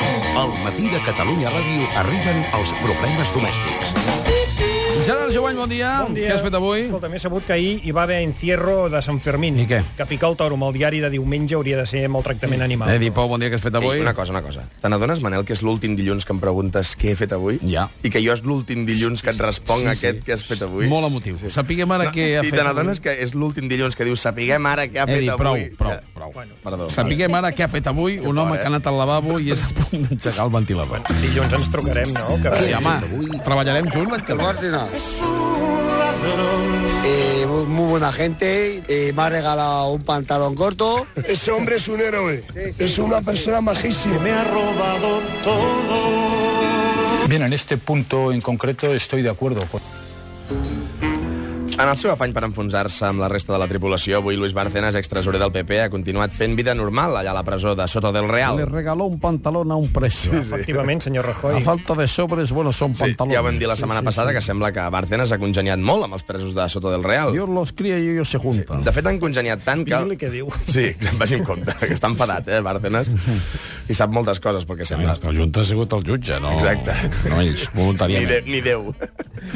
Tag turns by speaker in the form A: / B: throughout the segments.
A: Al matí de Catalunya Ràdio arriben els problemes domèstics.
B: Gerard Jovany, bon dia.
C: Bon dia.
B: Què has fet avui?
C: Escolta, m'he sabut que ahir hi va haver encierro de Sant Fermín.
B: I què?
C: Que picar el toro amb el diari de diumenge hauria de ser maltractament animal.
B: Edi Pou, bon dia, què has fet
D: Ei,
B: avui?
D: una cosa, una cosa. Te n'adones, Manel, que és l'últim dilluns que em preguntes què he fet avui?
B: Ja.
D: I que jo és l'últim dilluns que et responc
B: Sí, sí.
D: sí, aquest que has fet avui?
B: Molt emotiu. Sí. Sapiguem ara què ha
D: I
B: fet...
D: te n'adones que és l'últim dilluns que dius sapiguem ara què ha fet
B: Edi, prou,
D: avui?
B: prou,
D: Ja.
B: prou.
C: Bueno,
D: Perdó.
B: Sapiguem ara què ha fet avui un home
D: fort, eh?
B: que ha anat al lavabo i és a punt d'engegar el ventilador.
C: dilluns ens trucarem, no? Que
B: Sí, home, treballarem junts l'activitat.
E: Eh, muy buena gente, eh, me ha regalado un pantalón corto.
F: Ese hombre es un héroe. es una persona majísima. Me ha robado todo.
G: Bien, en este punto en concreto estoy de acuerdo. con-
D: En el seu afany per enfonsar-se amb la resta de la tripulació, avui Luis Barcenas, extresorer del PP, ha continuat fent vida normal allà a la presó de Soto del Real.
B: Le regaló un pantalón a un precio.
C: Efectivament, senyor
B: A
C: Rajoy.
B: falta de sobres, bueno, son
D: Sí,
B: pantalones.
D: ja ho vam dir la setmana passada, que sembla que Barcenas ha congeniat molt amb els presos de Soto del Real.
B: Dios los cría y ellos se juntan.
D: De fet, han congeniat tant que...
C: Digue-li què diu.
D: Sí, vagi amb compte, que està enfadat, eh, Bárcenas. I sap moltes coses, pel que sembla.
H: El jutge ha sigut el jutge, no,
D: Exacte.
H: no ells,
D: Ni,
H: voluntàriament.
D: de, ni Déu.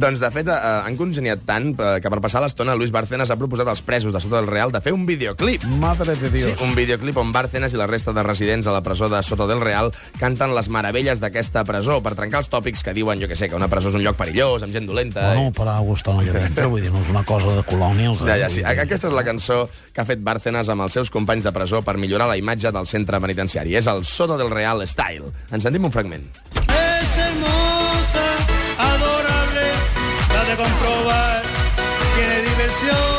D: doncs, de fet, eh, han congeniat tant eh, que per passar l'estona Luis Bárcenas ha proposat als presos de sota del Real de fer un videoclip.
B: Madre de Dios.
D: Sí, un videoclip on Bárcenas i la resta de residents a la presó de Soto del Real canten les meravelles d'aquesta presó per trencar els tòpics que diuen, jo que sé, que una presó és un lloc perillós, amb gent dolenta... i-
H: No, però Agustó no hi ha dintre, vull dir, no és una cosa de colònies.
B: eh?
D: Ja, ja, sí. A- Aquesta és la cançó que ha fet Bárcenas amb els seus companys de presó per millorar la imatge del centre penitenciari. És el Soto del Real Style. Ens sentim un fragment.
I: Es hermosa, adorable, la de comprobar. Tiene diversión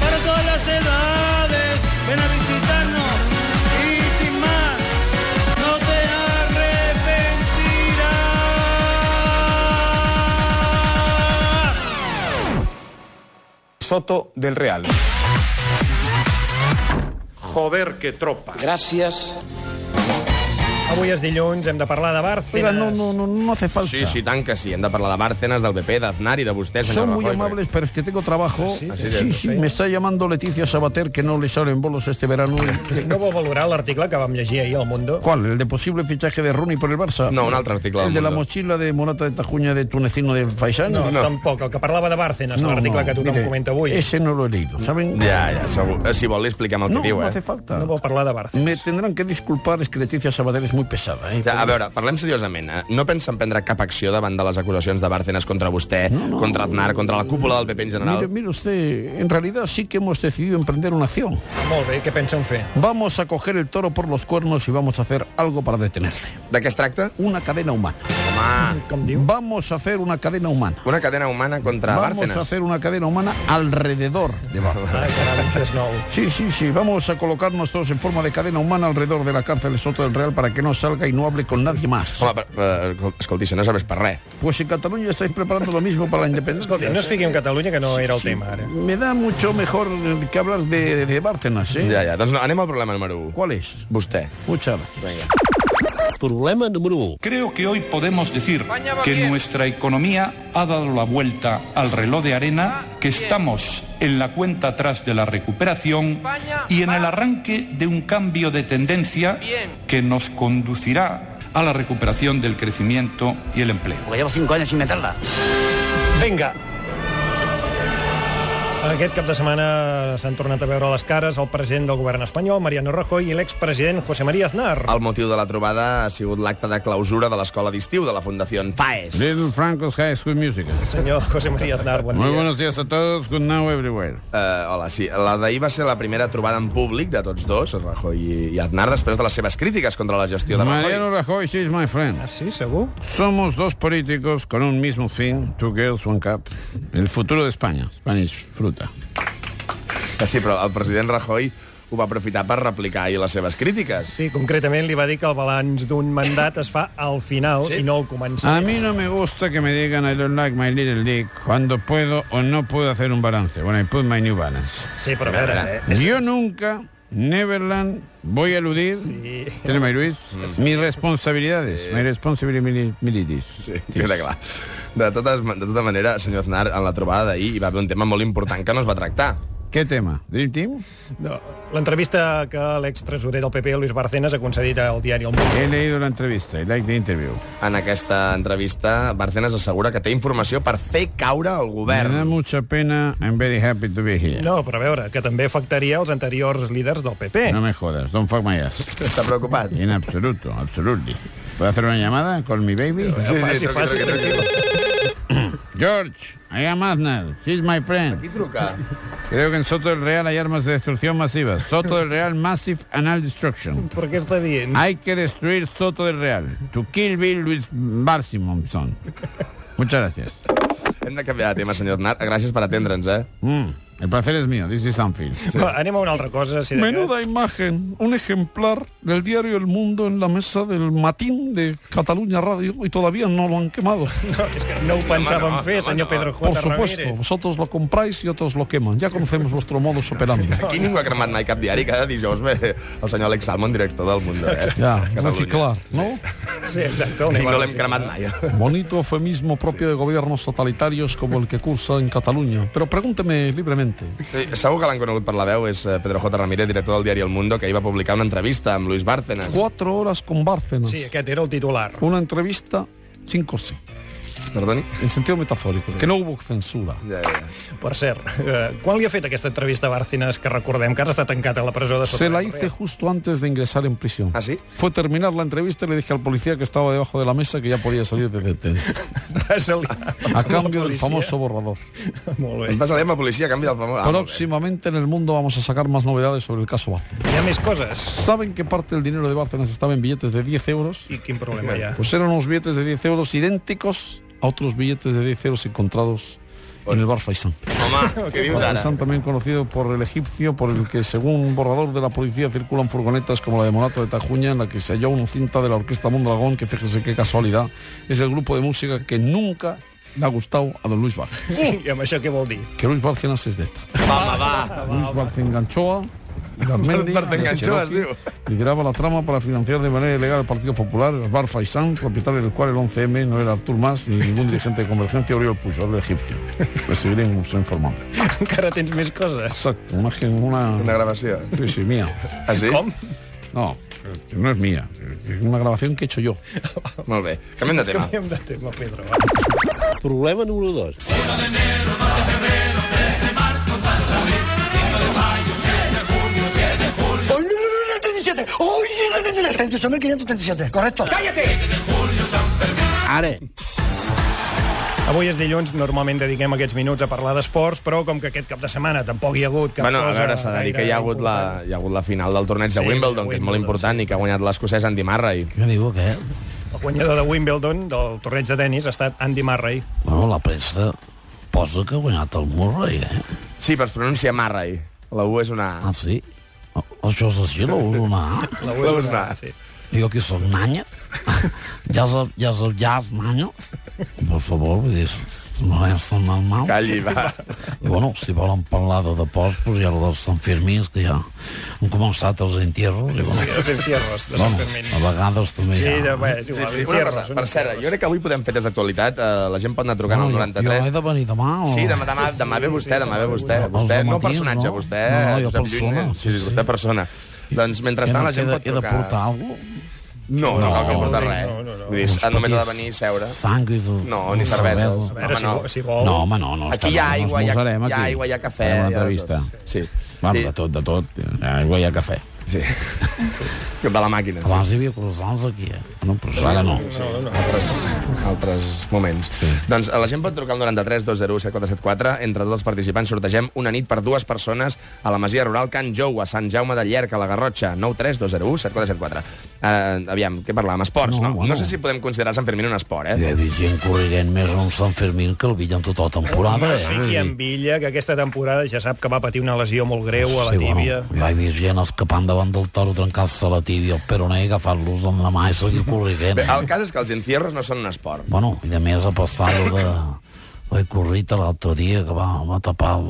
I: para todas las edades. Ven a visitarnos y sin más, no te arrepentirás.
G: Soto del Real.
I: Joder, qué tropa.
C: Avui és dilluns, hem de parlar de
B: Oiga,
C: Bárcenas.
B: no, no, no, no hace falta.
D: Sí, sí, tant que sí. Hem de parlar de Bárcenas, del PP, d'Aznar i de vostè, senyor
B: Son muy
D: Rajoy.
B: amables, pero es que tengo trabajo.
C: sí?
D: Así
B: Sí,
D: de-
B: sí, me está llamando Leticia Sabater, que no le salen bolos este verano.
C: No vol valorar l'article que vam llegir ahir al Mundo?
B: ¿Cuál? ¿El de posible fichaje de Rooney por el Barça?
D: No, un altre article
B: ¿El
D: del
B: de la
D: Mundo.
B: mochila de Morata de Tajuña de Tunecino del Faisán?
C: No, no, tampoc. El que parlava de Bárcenas,
B: No,
C: l'article
B: no,
C: que tothom
B: mire,
C: comenta avui.
B: Ese no lo he leído, ¿saben?
D: Ja, ja, segur. Eh, Si vol, li expliquem el que
B: no,
D: diu,
B: no
D: eh?
B: hace falta.
C: No vol parlar de Bárcenas.
B: Me tendrán que disculpar, es que Leticia Sabater es muy pesada. ¿eh?
D: Ja, A veure, parlem seriosament. Eh? No pensen prendre cap acció davant de les acusacions de Bárcenas contra vostè, contra Aznar, contra la cúpula del PP en general?
B: Mire, mire usted, en realidad sí que hemos decidido emprender una acción.
C: Molt bé, què pensen fer?
B: Vamos a coger el toro por los cuernos y vamos a hacer algo para detenerle.
D: De què es tracta?
B: Una cadena humana.
D: Home,
C: Com diu?
B: Vamos a hacer una cadena humana.
D: una cadena humana contra
B: Vamos a
D: Bárcenas.
B: hacer una cadena humana alrededor de Bárcenas.
C: Ai, caram, això és nou.
B: Sí, sí, sí, vamos a colocarnos todos en forma de cadena humana alrededor de la cárcel de Soto del Real para que no salga y no hable con nadie más.
D: Home, per, per, escolti, si no serveix per res.
B: Pues en Cataluña estáis preparando lo mismo para la independencia.
C: Escolti, no es fiqui en Catalunya, que no era el tema,
E: ¿eh?
C: ara.
B: Me da mucho mejor eh, que hablar de, de Bárcenas, ¿eh?
D: Ja, ja. Doncs no, anem al problema número 1.
B: ¿Cuál es?
D: Vostè.
B: Muchas gracias.
A: Problema número 1.
G: Creo que hoy podemos decir que nuestra economía ha dado la vuelta al reloj de arena, que estamos en la cuenta atrás de la recuperación y en el arranque de un cambio de tendencia que nos conducirá a la recuperación del crecimiento y el empleo.
E: Porque llevo cinco años sin meterla.
C: Vinga. Aquest cap de setmana s'han tornat a veure les cares el president del govern espanyol, Mariano Rajoy, i l'expresident José María Aznar.
D: El motiu de la trobada ha sigut l'acte de clausura de l'escola d'estiu de la Fundació FAES.
H: Little Franco's High School Musical.
C: Senyor José María Aznar, bon
H: Muy
C: dia.
H: buenos días a todos, good now everywhere.
D: Uh, hola, sí. La d'ahir va ser la primera trobada en públic de tots dos, Rajoy i- i Aznar, després de les seves crítiques contra la gestió de
H: Mariano
D: Rajoy.
H: Rajoy, she's my friend.
C: Ah, sí, segur?
H: Somos dos políticos con un mismo fin, two girls, one cup. El futuro de España, Spanish fruta.
D: Que sí, però el president Rajoy ho va aprofitar per replicar ahir les seves crítiques.
C: Sí, concretament li va dir que el balanç d'un mandat es fa al final sí? i no al començament.
H: A mí no me gusta que me digan I don't like my little dick cuando puedo o no puedo hacer un balance. When I put my new balance.
C: Sí, però a veure, eh?
H: Yo nunca, Neverland, voy a eludir, Tele May Luis, mis responsabilidades, my responsibilities.
D: Queda clar. De, totes, de tota manera, senyor Aznar, en la trobada d'ahir hi va haver un tema molt important que no es va tractar.
H: ¿Qué tema? ¿Dream Team?
C: No, L'entrevista que l'extresorer del PP, Luis Barcenas, ha concedit al diari El Mundo.
H: He leído la entrevista, I like the interview.
D: En aquesta entrevista, Barcenas assegura que té informació per fer caure
H: Me
D: el
H: da
B: Mm.
D: govern.
H: mucha pena, I'm very happy to be here.
C: No, però a veure, que també afectaria els anteriors líders del PP.
H: No me jodas, don't fuck my ass.
D: Està preocupat?
H: En absoluto, absolutely. ¿Puedo hacer una llamada? Call me baby.
C: sí, faci,
D: truqui,
C: faci,
D: truqui, truqui.
H: George, I am Aznar. She's my friend.
D: Qui truca?
H: Creo que en Soto del Real hay armas de destrucción masiva. Soto del Real Massive Anal Destruction.
C: Per què està dient?
H: Hay que destruir Soto del Real. To kill Bill Luis Barsimonson. Muchas gracias.
D: Hem de canviar de tema, senyor Aznar. Gràcies per atendre'ns, eh?
H: Mm, el placer es mío, this is Anfield.
C: Va, anem a una altra cosa. Si de cas.
B: imagen, un ejemplar del diario El Mundo en la mesa del matín de Cataluña Radio y todavía no lo han quemado.
C: No, és que no ho pensàvem
D: no,
C: fer,
D: home,
C: senyor
D: no.
C: Pedro J.
B: Por supuesto,
C: Ramírez.
B: vosotros lo compráis y otros lo queman. Ya conocemos vuestro modus operandi.
D: Aquí ningú ha cremat mai cap diari. Cada dijous ve el senyor Alex Salmon, director del Mundo. Eh?
B: Ya,
D: Catalunya.
B: reciclar, ¿no?
C: Sí, exacte. una
D: I no
C: cosa
D: l'hem
C: així.
D: cremat mai.
B: Bonito eufemismo propio de gobiernos totalitarios como el que cursa en Cataluña. Pero pregúnteme libremente.
D: Sí, Segur que l'han conegut per la veu, és eh, Pedro J. Ramírez, director del diari El Mundo, que ahir va publicar una entrevista amb Luis Bárcenas.
B: Cuatro horas con Bárcenas.
C: Sí, aquest era el titular.
B: Una entrevista sin coste,
D: Perdoni?
B: en sentido metafórico, que no hubo censura.
D: Ja, ja, ja.
C: Per cert, eh, quan li ha fet aquesta entrevista a Bárcenas, que recordem que ara està tancat a la presó de Sota
B: Se la
C: del
B: hice
C: Real?
B: justo antes de ingresar en prisión.
D: ¿Ah, sí?
B: Fue terminar la entrevista y le dije al policía que estaba debajo de la mesa que ya podía salir de detención.
C: Va salir amb la
B: A cambio del
C: policia.
B: famoso borrador.
C: Molt
D: Em
C: bé.
D: passaré amb la policia a canvi del famós... Ah, molt bé.
B: Próximamente en el mundo vamos a sacar más novedades sobre el caso Bárcenas.
C: Hi ha més coses?
B: ¿Saben que parte del dinero de Bárcenas estaba en billetes de 10 euros?
C: I quin problema hi ha?
B: Pues eran unos billetes de 10 euros idénticos a otros billetes de 10 euros encontrados en el bar Faisán.
D: Home, què dius ara?
B: Faisán también conocido por el egipcio, por el que según un borrador de la policía circulan furgonetas como la de Monato de Tajuña, en la que se halló una cinta de la Orquesta Mondragón, que fíjese qué casualidad, es el grupo de música que nunca le ha gustado a don Luis Bárcenas.
C: I amb això què vol dir?
B: Que Luis Bárcenas es de esta.
D: Va, home, va.
B: Luis Barcenganchoa. Garmendi,
D: Barcenganchoa,
B: Cherokee, lideraba la trama para financiar de manera ilegal el Partido Popular, el Bar Faisán, propietario del cual el 11M no era Artur Mas ni ningún dirigente de Convergencia Oriol Pujol, el egipcio. Recibiré un uso informante.
C: Encara tens més coses?
B: Exacto, una... una...
D: Una gravació.
B: Sí, sí, mía.
D: Ah, sí?
C: Com?
B: No, es que no es mía. Es una grabación que he hecho yo.
D: Molt bé. Canviem de tema.
C: Canviem de tema, Pedro. va.
E: Problema número 2.
I: correcto.
H: Are.
C: Avui és dilluns, normalment dediquem aquests minuts a parlar d'esports, però com que aquest cap de setmana tampoc hi ha hagut cap
D: Bueno, a
C: cosa...
D: veure, s'ha de dir que hi ha, hagut la, hi ha hagut la final del torneig de
C: Sí,
D: Wimbledon,
C: de
D: que és
C: Wimbledon,
D: molt important, i que ha guanyat l'escocès Andy Murray.
E: Yo me digo que
C: El guanyador de Wimbledon, del torneig de tennis, ha estat Andy Murray.
E: bueno, la premsa posa que ha guanyat el Murray, eh?
D: Sí, però es pronuncia Murray. La U és una...
E: Ah, sí? O- Això és així, la Uruna.
C: La
D: La US va.
C: Sí.
E: Jo que sóc nanya. Ja sóc, ja sóc, ja és nanya. Per favor, vull dir, no és tan normal.
D: Calli, va.
E: I bueno, si volen parlar de depòs, doncs hi ha el dels Sant Firmins, que ja han començat els entierros. I bueno,
C: Els encierros de Sant
E: bueno,
C: Fermín.
E: a vegades també
C: Sí,
E: hi ha...
C: de, bé, és
D: Sí,
C: igual,
D: sí. Una
C: encierros.
D: cosa,
C: són
D: per cert,
C: encierros.
D: jo crec que avui podem fer des d'actualitat. eh, la gent pot anar trucant al
E: Bueno, jo, jo he
D: 93.
E: de venir demà o...
D: Sí, demà, demà, demà ve vostè, demà ve vostè.
E: Els
D: vostè no
E: dematins,
D: personatge,
E: no?
D: vostè...
E: No, no, jo
D: Josep
E: persona,
D: Lluny, eh? Sí, sí,
E: sí,
D: vostè
E: sí.
D: persona. Doncs mentrestant la
E: He
D: gent
E: de,
D: pot
E: he de
D: trucar...
E: portar alguna cosa?
D: No, no, no cal que
C: No,
D: portar
C: no,
D: res.
C: no, no, no.
D: Vull dir, només ha de venir i seure.
E: Sangres...
D: No, ni cerveses.
C: A veure, si,
D: Home,
C: vol-
D: no.
C: si vol...
E: No, home, no. no
D: Aquí
E: està
D: hi ha
E: bé, no
D: aigua, hi ha,
H: esmorzarem,
D: hi ha,
H: aquí.
D: aigua, hi ha cafè...
H: Farem una
D: hi ha de
H: entrevista.
D: tot. Sí.
H: Vamos,
D: I-
H: de tot, de tot. eh, Aigua i cafè.
D: Sí. De la màquina. Sí.
E: Abans hi havia croissants aquí, eh? No, però ara no.
C: No, no, no.
D: Altres, altres moments. Sí. Doncs eh, la gent pot trucar al 93 201 7474. Entre tots els participants sortegem una nit per dues persones a la Masia Rural Can Jou, a Sant Jaume de Llerca, a la Garrotxa. 93 201 7474. Eh, aviam, què parlàvem? Esports, no?
E: No,
D: No,
E: bueno.
D: no sé si podem considerar Sant Fermín un esport,
E: Hi
D: eh?
E: ha hagut gent corrent més a un Sant Fermín que el Villa en tota la temporada,
C: Es
E: eh?
C: fiqui en Villa, que aquesta temporada ja sap que va patir una lesió molt greu a la
E: Sí, bueno,
C: tíbia.
E: jo he vist gent escapant davant del toro, trencar-se la tíbia, el peroné, agafant-los amb la mà i seguir corrent.
D: Bé,
E: Eh?
D: el cas és que els encierros no són un esport.
E: Bueno, i a més a passar-lo de... L'he corrit l'altre dia que va, va tapar el,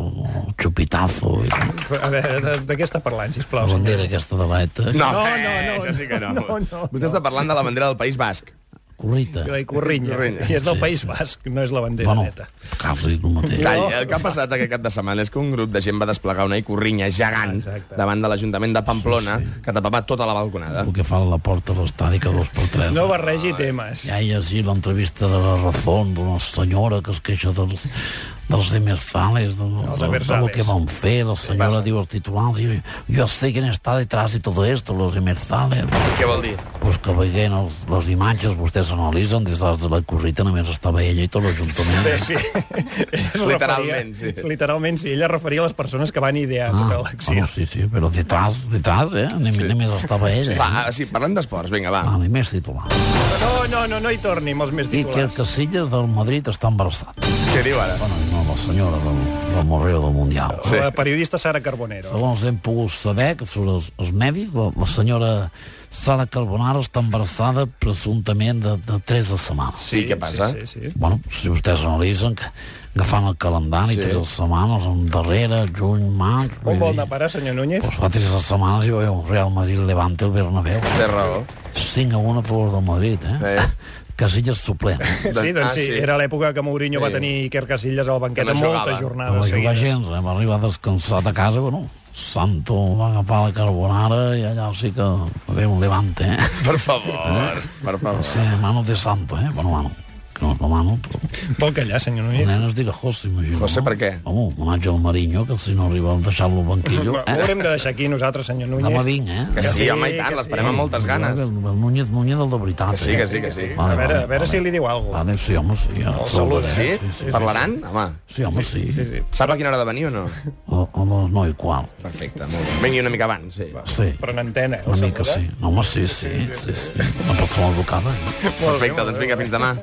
E: el xupitazo i la
C: A veure, de, de què està parlant, sisplau, senyor?
E: bandera aquesta de l'ETA.
D: No,
C: no,
D: eh,
C: no, no.
D: això sí que no.
C: No, no,
D: Vostè està parlant de la bandera del País Basc.
E: Corrita.
C: I Corrinya. I és del País Basc, no és la bandera
E: Bueno,
C: neta.
E: quasi el mateix.
D: Call, el que ha passat aquest cap de setmana és que un grup de gent va desplegar una icorrinya gegant
C: Exacte.
D: davant de l'Ajuntament de Pamplona que tapava tota la balconada.
E: El que fa la porta de l'estadi que dos per tres.
C: No barregi temes.
E: Ja hi ha sí, l'entrevista de la Razón, d'una senyora que es queixa dels, dels demersales,
C: Els
E: de, de, de, de lo
C: demersales.
E: que van fer, la senyora diu als titulars, jo, jo sé quién está detrás de todo esto, los demersales.
D: Què vol dir?
E: Pues que veient els, les imatges, vostès analitzen, des de la corrita només estava ella i tot l'Ajuntament.
C: Bé, sí. Ella es
D: Literalment,
C: referia-
D: sí.
C: Literalment, sí. Ella es referia a les persones que van idear ah, tota l'acció.
E: bueno, sí, sí, però detrás, detrás, eh? Ni, sí. Només estava ella.
C: Eh.
D: Va, ah, sí, parlem d'esports, vinga, va.
E: Vale, més titular.
C: No, no, no, no hi torni amb els més
E: I que el
C: titulars.
E: Casillas del Madrid està embarassat.
D: Què diu ara?
E: Bueno, no, la senyora del, del Morreo del Mundial.
D: Sí.
C: La periodista Sara Carbonero.
E: Segons hem pogut saber, que sobre els, els mèdics, la, la senyora Sara Carbonara està embarassada presumptament de, de 3 de setmanes.
D: Sí, què passa?
C: Sí, sí, sí.
E: Bueno, si vostès analitzen, que agafant el calendari,
D: Sí.
E: sí. 3 de setmanes, endarrere, juny, maig...
C: On
E: vull
C: vol
E: dir,
C: anar a parar, senyor Núñez?
E: Doncs fa 3 de setmanes hi va haver un Real Madrid-Levante al Bernabéu.
D: Té raó.
E: 5 a 1 a favor del Madrid, eh?
D: Eh.
E: Casillas suplent.
C: Ah, Sí, doncs sí, era l'època que Mourinho
D: Ah, Sí.
C: va tenir Iker Casillas al banquet
D: Que no
C: en moltes
D: jugava.
E: No
C: jornades
E: va jugar
C: seguides.
E: gens, eh? va arribar descansat a casa, bueno, Santo va agafar la carbonara i allà sí que va haver un levante, eh?
D: Per favor, per favor.
E: Sí, mano de Santo, eh? Bueno, mano, que no és la mano, però
C: Vol callar, senyor
E: el
C: Núñez?
E: nen es dirà José, imagino.
D: José,
E: no?
D: per què?
E: Home, homenatge al Marinho, que si no arriba a deixar-lo al banquillo,
C: Va, Ho
E: eh?
C: haurem de deixar aquí nosaltres, senyor
E: Demà
C: Núñez.
E: vinc, eh?
D: Que sí,
C: sí,
D: home, i
C: que
D: tant,
C: sí.
D: l'esperem amb moltes
E: El,
D: ganes.
E: el Núñez, Núñez del de veritat. eh?
D: Que sí, que sí, que sí.
C: A veure, a veure si li diu alguna cosa.
E: Vale, sí, home, sí. Ja,
C: El saluda,
D: Sí?
E: Sí, sí,
D: Parlaran? Home,
E: sí, home, sí. sí, sí.
D: sap a quina hora ha de venir o no?
E: Home, no i qual.
D: Perfecte, molt bé. Vingui una mica abans, sí.
E: Sí.
C: Però en antena, eh, el
E: Una mica
C: saluda.
E: sí. No, home, sí, sí, sí, sí. Una persona educada. eh?
D: Perfecte, doncs vinga, fins demà.